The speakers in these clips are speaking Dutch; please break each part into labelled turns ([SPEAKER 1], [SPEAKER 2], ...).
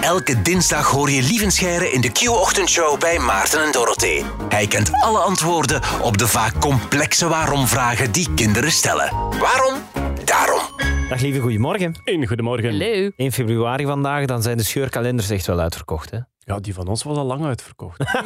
[SPEAKER 1] Elke dinsdag hoor je Lievenscheire in de Q-ochtendshow bij Maarten en Dorothee. Hij kent alle antwoorden op de vaak complexe waarom-vragen die kinderen stellen. Waarom? Daarom.
[SPEAKER 2] Dag lieve, goedemorgen.
[SPEAKER 3] Een goedemorgen.
[SPEAKER 4] Leuk.
[SPEAKER 2] 1 februari vandaag, dan zijn de scheurkalenders echt wel uitverkocht. Hè?
[SPEAKER 3] Ja, die van ons was al lang uitverkocht.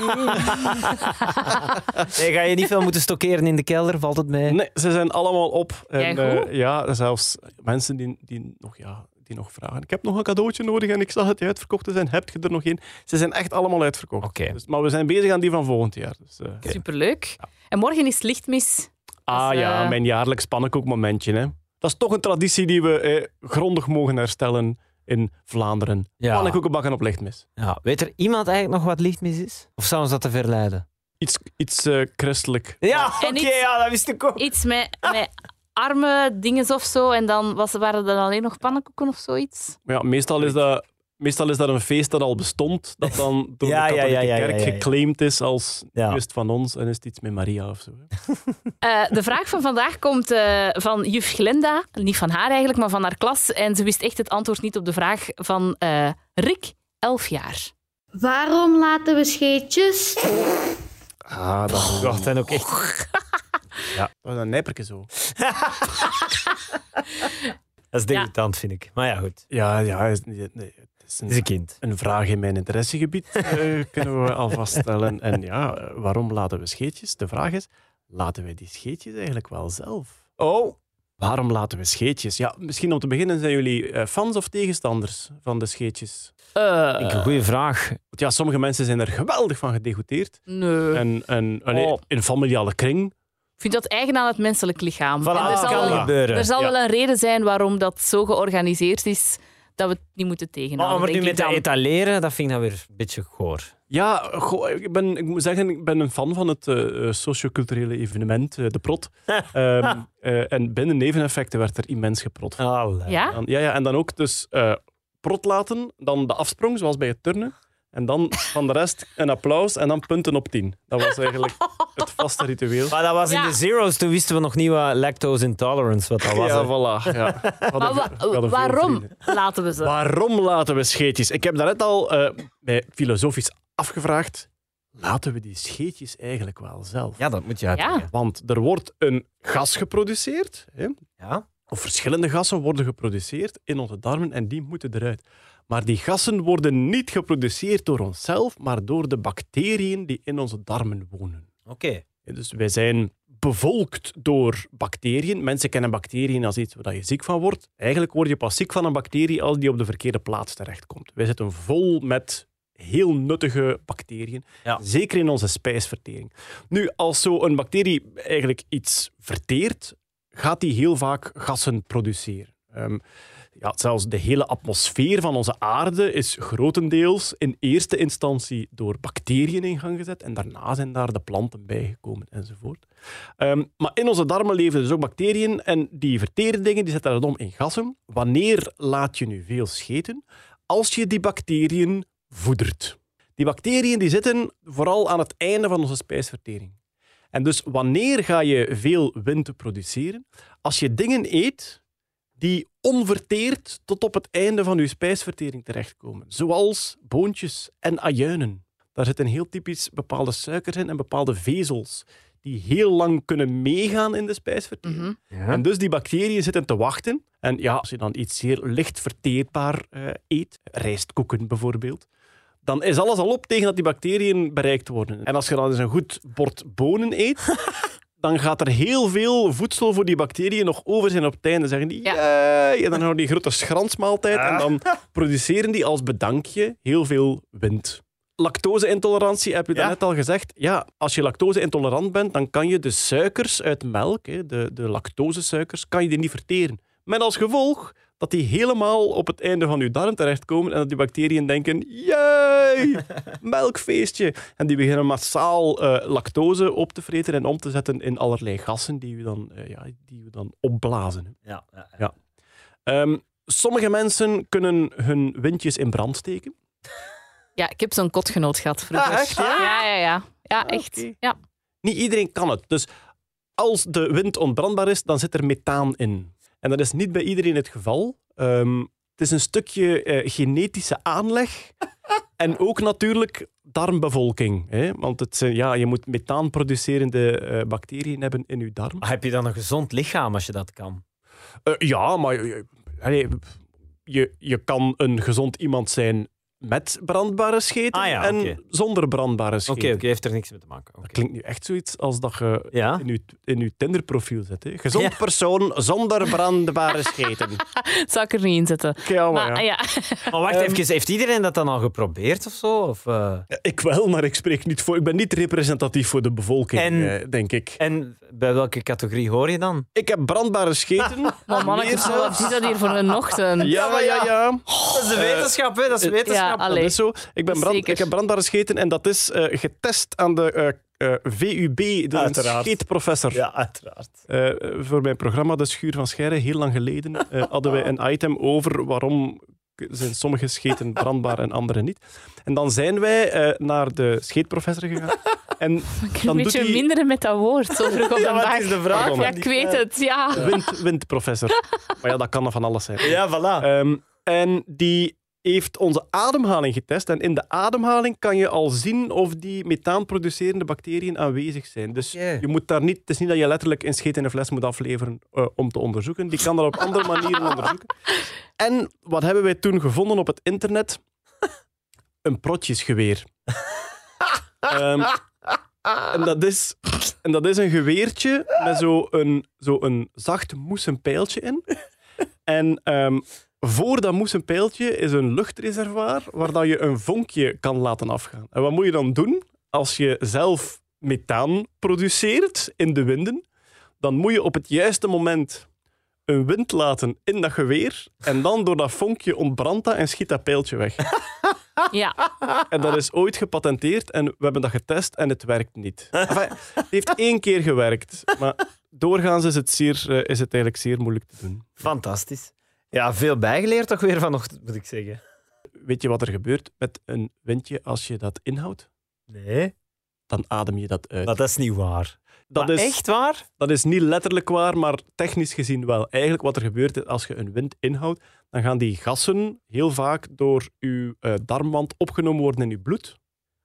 [SPEAKER 2] Nee, ga je niet veel moeten stockeren in de kelder, valt het mee?
[SPEAKER 3] Nee, ze zijn allemaal op. En,
[SPEAKER 4] Ja, goed.
[SPEAKER 3] eh, ja, zelfs mensen die, die, nog, ja, die nog vragen. Ik heb nog een cadeautje nodig en ik zag dat die uitverkocht zijn. Heb je er nog één? Ze zijn echt allemaal uitverkocht.
[SPEAKER 2] Oké.
[SPEAKER 3] Dus, maar we zijn bezig aan die van volgend jaar. Dus, eh,
[SPEAKER 4] Superleuk. En morgen is lichtmis.
[SPEAKER 3] Ah
[SPEAKER 4] Dus, eh,
[SPEAKER 3] ja, mijn jaarlijks pannenkoekmomentje. Hè. Dat is toch een traditie die we eh, grondig mogen herstellen in Vlaanderen.
[SPEAKER 2] Ja.
[SPEAKER 3] Pannenkoeken bakken op lichtmis.
[SPEAKER 2] Ja, weet er iemand eigenlijk nog wat lichtmis is? Of zou ons dat te verleiden?
[SPEAKER 3] Iets, iets eh, christelijk.
[SPEAKER 2] Ja,
[SPEAKER 4] En iets-
[SPEAKER 2] ja, dat wist ik ook.
[SPEAKER 4] Iets met, met arme dingen of zo. En dan was, waren er alleen nog pannenkoeken of zoiets.
[SPEAKER 3] Maar ja, meestal is dat... Meestal is dat een feest dat al bestond, dat dan door
[SPEAKER 2] Ja,
[SPEAKER 3] de
[SPEAKER 2] ja, ja,
[SPEAKER 3] katholieke
[SPEAKER 2] ja, ja,
[SPEAKER 3] kerk
[SPEAKER 2] ja, ja.
[SPEAKER 3] geclaimd is als
[SPEAKER 2] Ja.
[SPEAKER 3] ja. van ons en is het iets met Maria of zo. hè.
[SPEAKER 4] Eh, de vraag van vandaag komt eh, van juf Glenda. Niet van haar eigenlijk, maar van haar klas. En ze wist echt het antwoord niet op de vraag van eh, Rick, 11 jaar.
[SPEAKER 5] Waarom laten we scheetjes?
[SPEAKER 3] Ah, dat is
[SPEAKER 2] Dat zijn ook echt...
[SPEAKER 3] een nijperke zo.
[SPEAKER 2] Dat is debutant, vind ik. Maar ja, goed.
[SPEAKER 3] Ja, ja, is- nee, nee, het is
[SPEAKER 2] Het is een
[SPEAKER 3] een,
[SPEAKER 2] kind.
[SPEAKER 3] een vraag in mijn interessegebied, eh, kunnen we al vaststellen. En ja, eh, waarom laten we scheetjes? De vraag is, laten wij die scheetjes eigenlijk wel zelf?
[SPEAKER 2] Oh.
[SPEAKER 3] Waarom laten we scheetjes? Ja, misschien om te beginnen, zijn jullie eh, fans of tegenstanders van de scheetjes?
[SPEAKER 4] Eh,
[SPEAKER 2] Een goede vraag.
[SPEAKER 3] Want ja, sommige mensen zijn er geweldig van gedegoûteerd.
[SPEAKER 4] nee.
[SPEAKER 3] En, en allee,
[SPEAKER 4] Oh.
[SPEAKER 3] in familiale kring.
[SPEAKER 4] Ik vind dat eigen aan het menselijk lichaam. En er
[SPEAKER 2] dat
[SPEAKER 4] zal
[SPEAKER 2] kan
[SPEAKER 4] wel-
[SPEAKER 2] gebeuren.
[SPEAKER 4] Er zal
[SPEAKER 3] Ja.
[SPEAKER 4] wel een reden zijn waarom dat zo georganiseerd is dat we het niet moeten tegenhouden.
[SPEAKER 2] Oh, maar nu
[SPEAKER 4] denk
[SPEAKER 2] met
[SPEAKER 4] ik
[SPEAKER 2] dat
[SPEAKER 4] dan.
[SPEAKER 2] etaleren, dat vind ik dan weer een beetje goor.
[SPEAKER 3] Ja, goh, ik, ben, ik moet zeggen, ik ben een fan van het eh, eh, socioculturele evenement, eh, de prot. Ehm, eh, en binnen neveneffecten werd er immens geprot. van.
[SPEAKER 2] Allee.
[SPEAKER 4] Ja?
[SPEAKER 3] Dan- ja, ja, en dan ook dus eh, prot laten, dan de afsprong, zoals bij het turnen. En dan van de rest een applaus en dan punten op tien. Dat was eigenlijk het vaste ritueel.
[SPEAKER 2] Maar dat was in
[SPEAKER 4] Ja.
[SPEAKER 2] de zeros, toen wisten we nog niet wat lactose intolerance wat dat was. hè.
[SPEAKER 3] ja, voilà. Ja. We hadden veel-
[SPEAKER 4] Maar wa-
[SPEAKER 3] we hadden veel
[SPEAKER 4] waarom
[SPEAKER 3] vrienden.
[SPEAKER 4] laten we ze?
[SPEAKER 3] Waarom laten we scheetjes? Ik heb daarnet al eh, mij filosofisch afgevraagd. Laten we die scheetjes eigenlijk wel zelf?
[SPEAKER 2] ja, dat moet je uitleggen.
[SPEAKER 3] Want er wordt een gas geproduceerd. Hè?
[SPEAKER 2] Ja.
[SPEAKER 3] Of verschillende gassen worden geproduceerd in onze darmen en die moeten eruit. Maar die gassen worden niet geproduceerd door onszelf, maar door de bacteriën die in onze darmen wonen.
[SPEAKER 2] Oké.
[SPEAKER 3] Ja, Dus wij zijn bevolkt door bacteriën. Mensen kennen bacteriën als iets waar je ziek van wordt. Eigenlijk word je pas ziek van een bacterie als die op de verkeerde plaats terechtkomt. Wij zitten vol met heel nuttige bacteriën,
[SPEAKER 2] Ja.
[SPEAKER 3] zeker in onze spijsvertering. Nu, als zo'n bacterie eigenlijk iets verteert, gaat die heel vaak gassen produceren. Ehm, ja, zelfs de hele atmosfeer van onze aarde is grotendeels in eerste instantie door bacteriën in gang gezet en daarna zijn daar de planten bijgekomen enzovoort. Ehm, maar in onze darmen leven dus ook bacteriën en die verteren dingen, die zetten dat om in gassen. Wanneer laat je nu veel scheten? Als je die bacteriën voedert. Die bacteriën die zitten vooral aan het einde van onze spijsvertering. En dus wanneer ga je veel wind produceren? Als je dingen eet die onverteerd tot op het einde van uw spijsvertering terechtkomen. Zoals boontjes en ajuinen. Daar zitten heel typisch bepaalde suikers in en bepaalde vezels die heel lang kunnen meegaan in de spijsvertering.
[SPEAKER 4] Mhm.
[SPEAKER 3] En dus die bacteriën zitten te wachten. En ja, als je dan iets zeer licht verteerbaar eh, eet, rijstkoeken bijvoorbeeld, dan is alles al op tegen dat die bacteriën bereikt worden. En als je dan eens een goed bord bonen eet, dan gaat er heel veel voedsel voor die bacteriën nog over zijn op het einde. Zeggen die,
[SPEAKER 4] Ja.
[SPEAKER 3] ja. en dan houden die grote schransmaaltijd en dan produceren die als bedankje heel veel wind. Lactose-intolerantie heb je
[SPEAKER 2] Ja.
[SPEAKER 3] daarnet al gezegd. Ja, als je lactose-intolerant bent, dan kan je de suikers uit melk, hè, de, de lactosesuikers, kan je die niet verteren. Met als gevolg dat die helemaal op het einde van je darm terechtkomen en dat die bacteriën denken, jee, melkfeestje. En die beginnen massaal eh, lactose op te vreten en om te zetten in allerlei gassen die we dan, eh, ja, die we dan opblazen. hè.
[SPEAKER 2] Ja, ja, ja.
[SPEAKER 3] Ehm, sommige mensen kunnen hun windjes in brand steken.
[SPEAKER 4] Ja, ik heb zo'n kotgenoot gehad vroeger.
[SPEAKER 3] Ah, echt, ja?
[SPEAKER 4] Ja, ja, ja. Ja, echt.
[SPEAKER 3] oké.
[SPEAKER 4] Ja.
[SPEAKER 3] Niet iedereen kan het. Dus als de wind onbrandbaar is, dan zit er methaan in. En dat is niet bij iedereen het geval. Ehm, Het is een stukje eh, genetische aanleg en ook natuurlijk darmbevolking. Hè? Want het, zijn- ja, je moet methaanproducerende eh, bacteriën hebben in je darm.
[SPEAKER 6] Maar Heb je dan een gezond lichaam als je dat kan?
[SPEAKER 3] Eh, ja, maar je- je, allee, je, je kan een gezond iemand zijn met brandbare scheten
[SPEAKER 6] Ah ja,
[SPEAKER 3] en
[SPEAKER 6] oké.
[SPEAKER 3] zonder brandbare scheten.
[SPEAKER 6] Oké, oké, heeft er niks mee te maken. Oké.
[SPEAKER 3] Dat klinkt nu echt zoiets als dat je
[SPEAKER 6] Ja?
[SPEAKER 3] in je, in je Tinder-profiel zet. Hè? Gezond
[SPEAKER 6] Ja.
[SPEAKER 3] persoon zonder brandbare scheten.
[SPEAKER 4] Dat zou ik er niet in zetten.
[SPEAKER 3] Ja, maar
[SPEAKER 4] Maar,
[SPEAKER 3] Oh, ja.
[SPEAKER 4] ah, ja.
[SPEAKER 6] Maar wacht even, heeft iedereen dat dan al geprobeerd of zo? Of, eh,
[SPEAKER 3] Ik wel, maar ik spreek niet voor. Ik ben niet representatief voor de bevolking,
[SPEAKER 6] En-
[SPEAKER 3] eh, denk ik.
[SPEAKER 6] En bij welke categorie hoor je dan?
[SPEAKER 3] Ik heb brandbare scheten.
[SPEAKER 4] Maar mannetjes,
[SPEAKER 3] Meer
[SPEAKER 4] wat
[SPEAKER 3] zelfs.
[SPEAKER 4] is dat hier voor een ochtend?
[SPEAKER 3] Ja, ja, ja. ja.
[SPEAKER 6] Dat is de wetenschap, hè? Dat is
[SPEAKER 4] Ja,
[SPEAKER 6] wetenschap.
[SPEAKER 4] allee.
[SPEAKER 3] Dat is zo. Ik, ben brand,
[SPEAKER 4] Zeker.
[SPEAKER 3] ik heb brandbare scheten en dat is eh, getest aan de eh, eh, VUB, de
[SPEAKER 6] Uiteraard.
[SPEAKER 3] scheetprofessor.
[SPEAKER 6] Ja, uiteraard.
[SPEAKER 3] Eh, voor mijn programma De Schuur van Scheire, heel lang geleden, eh, hadden wij een item over waarom zijn sommige scheten brandbaar en andere niet. En dan zijn wij eh, naar de scheetprofessor gegaan. En
[SPEAKER 4] Ik
[SPEAKER 3] dan
[SPEAKER 4] een
[SPEAKER 3] doet
[SPEAKER 4] beetje
[SPEAKER 3] hij-
[SPEAKER 4] minderen met dat woord, zo vroeg op de dag.
[SPEAKER 6] is de vraag?
[SPEAKER 4] Ja, ik weet het, ja.
[SPEAKER 3] wind, windprofessor. Maar ja, dat kan er van alles zijn.
[SPEAKER 6] Ja, voilà.
[SPEAKER 3] Ehm, en die heeft onze ademhaling getest. En in de ademhaling kan je al zien of die methaanproducerende bacteriën aanwezig zijn. Dus
[SPEAKER 6] Oké.
[SPEAKER 3] je moet daar niet, het is niet dat je letterlijk een scheet in een fles moet afleveren eh, om te onderzoeken. Die kan dat op andere manieren onderzoeken. En wat hebben wij toen gevonden op het internet? Een protjesgeweer. Ehm, en, dat is, en dat is een geweertje met zo'n een, zo een zacht moesenpijltje in. En ehm, voor dat moesenpijltje is een luchtreservoir waar dat je een vonkje kan laten afgaan. En wat moet je dan doen als je zelf methaan produceert in de winden? Dan moet je op het juiste moment een wind laten in dat geweer en dan door dat vonkje ontbrandt dat en schiet dat pijltje weg. Dus-
[SPEAKER 4] ja.
[SPEAKER 3] En dat is ooit gepatenteerd en we hebben dat getest en het werkt niet. Enfin, het heeft één keer gewerkt, maar doorgaans is het, zeer, eh, is het eigenlijk zeer moeilijk te doen.
[SPEAKER 6] Fantastisch. Ja, veel bijgeleerd toch weer vanochtend, moet ik zeggen.
[SPEAKER 3] Weet je wat er gebeurt met een windje als je dat inhoudt?
[SPEAKER 6] Nee.
[SPEAKER 3] Dan adem je dat uit.
[SPEAKER 6] Maar dat is niet waar.
[SPEAKER 3] Dat
[SPEAKER 6] Maar
[SPEAKER 3] is,
[SPEAKER 6] Echt waar?
[SPEAKER 3] dat is niet letterlijk waar, maar technisch gezien wel. Eigenlijk wat er gebeurt is, als je een wind inhoudt, dan gaan die gassen heel vaak door je eh, darmwand opgenomen worden in je bloed.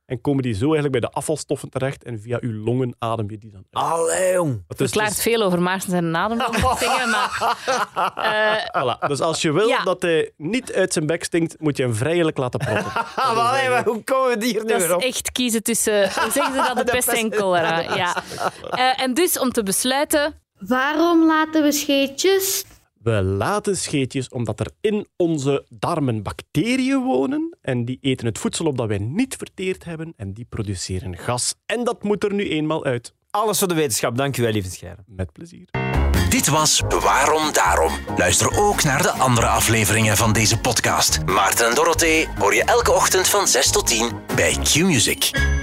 [SPEAKER 3] En komen die zo eigenlijk bij de afvalstoffen terecht en via je longen adem je die dan
[SPEAKER 2] Ah,
[SPEAKER 3] uit.
[SPEAKER 6] Allee, jong.
[SPEAKER 3] Dus,
[SPEAKER 4] verklaart veel over Maarten zijn Eh, adem. Maar, eh,
[SPEAKER 3] dus- voilà. Dus als je wil
[SPEAKER 4] Ja.
[SPEAKER 3] dat hij niet uit zijn bek stinkt, moet je hem vrijelijk laten proppen.
[SPEAKER 6] Ah, maar, allee, maar hoe komen we hier nu
[SPEAKER 4] dat
[SPEAKER 6] weer op?
[SPEAKER 4] is echt kiezen tussen, hoe zeggen ze dat, de pest en cholera. Ja. Eh, en dus, om te besluiten,
[SPEAKER 5] Waarom laten we scheetjes?
[SPEAKER 3] We laten scheetjes omdat er in onze darmen bacteriën wonen en die eten het voedsel op dat wij niet verteerd hebben en die produceren gas. En dat moet er nu eenmaal uit.
[SPEAKER 6] Alles voor de wetenschap. Dank u wel, lieve Scherm.
[SPEAKER 3] Met plezier.
[SPEAKER 1] Dit was Waarom Daarom. Luister ook naar de andere afleveringen van deze podcast. Maarten en Dorothee hoor je elke ochtend van 6 tot 10 bij Q-Music.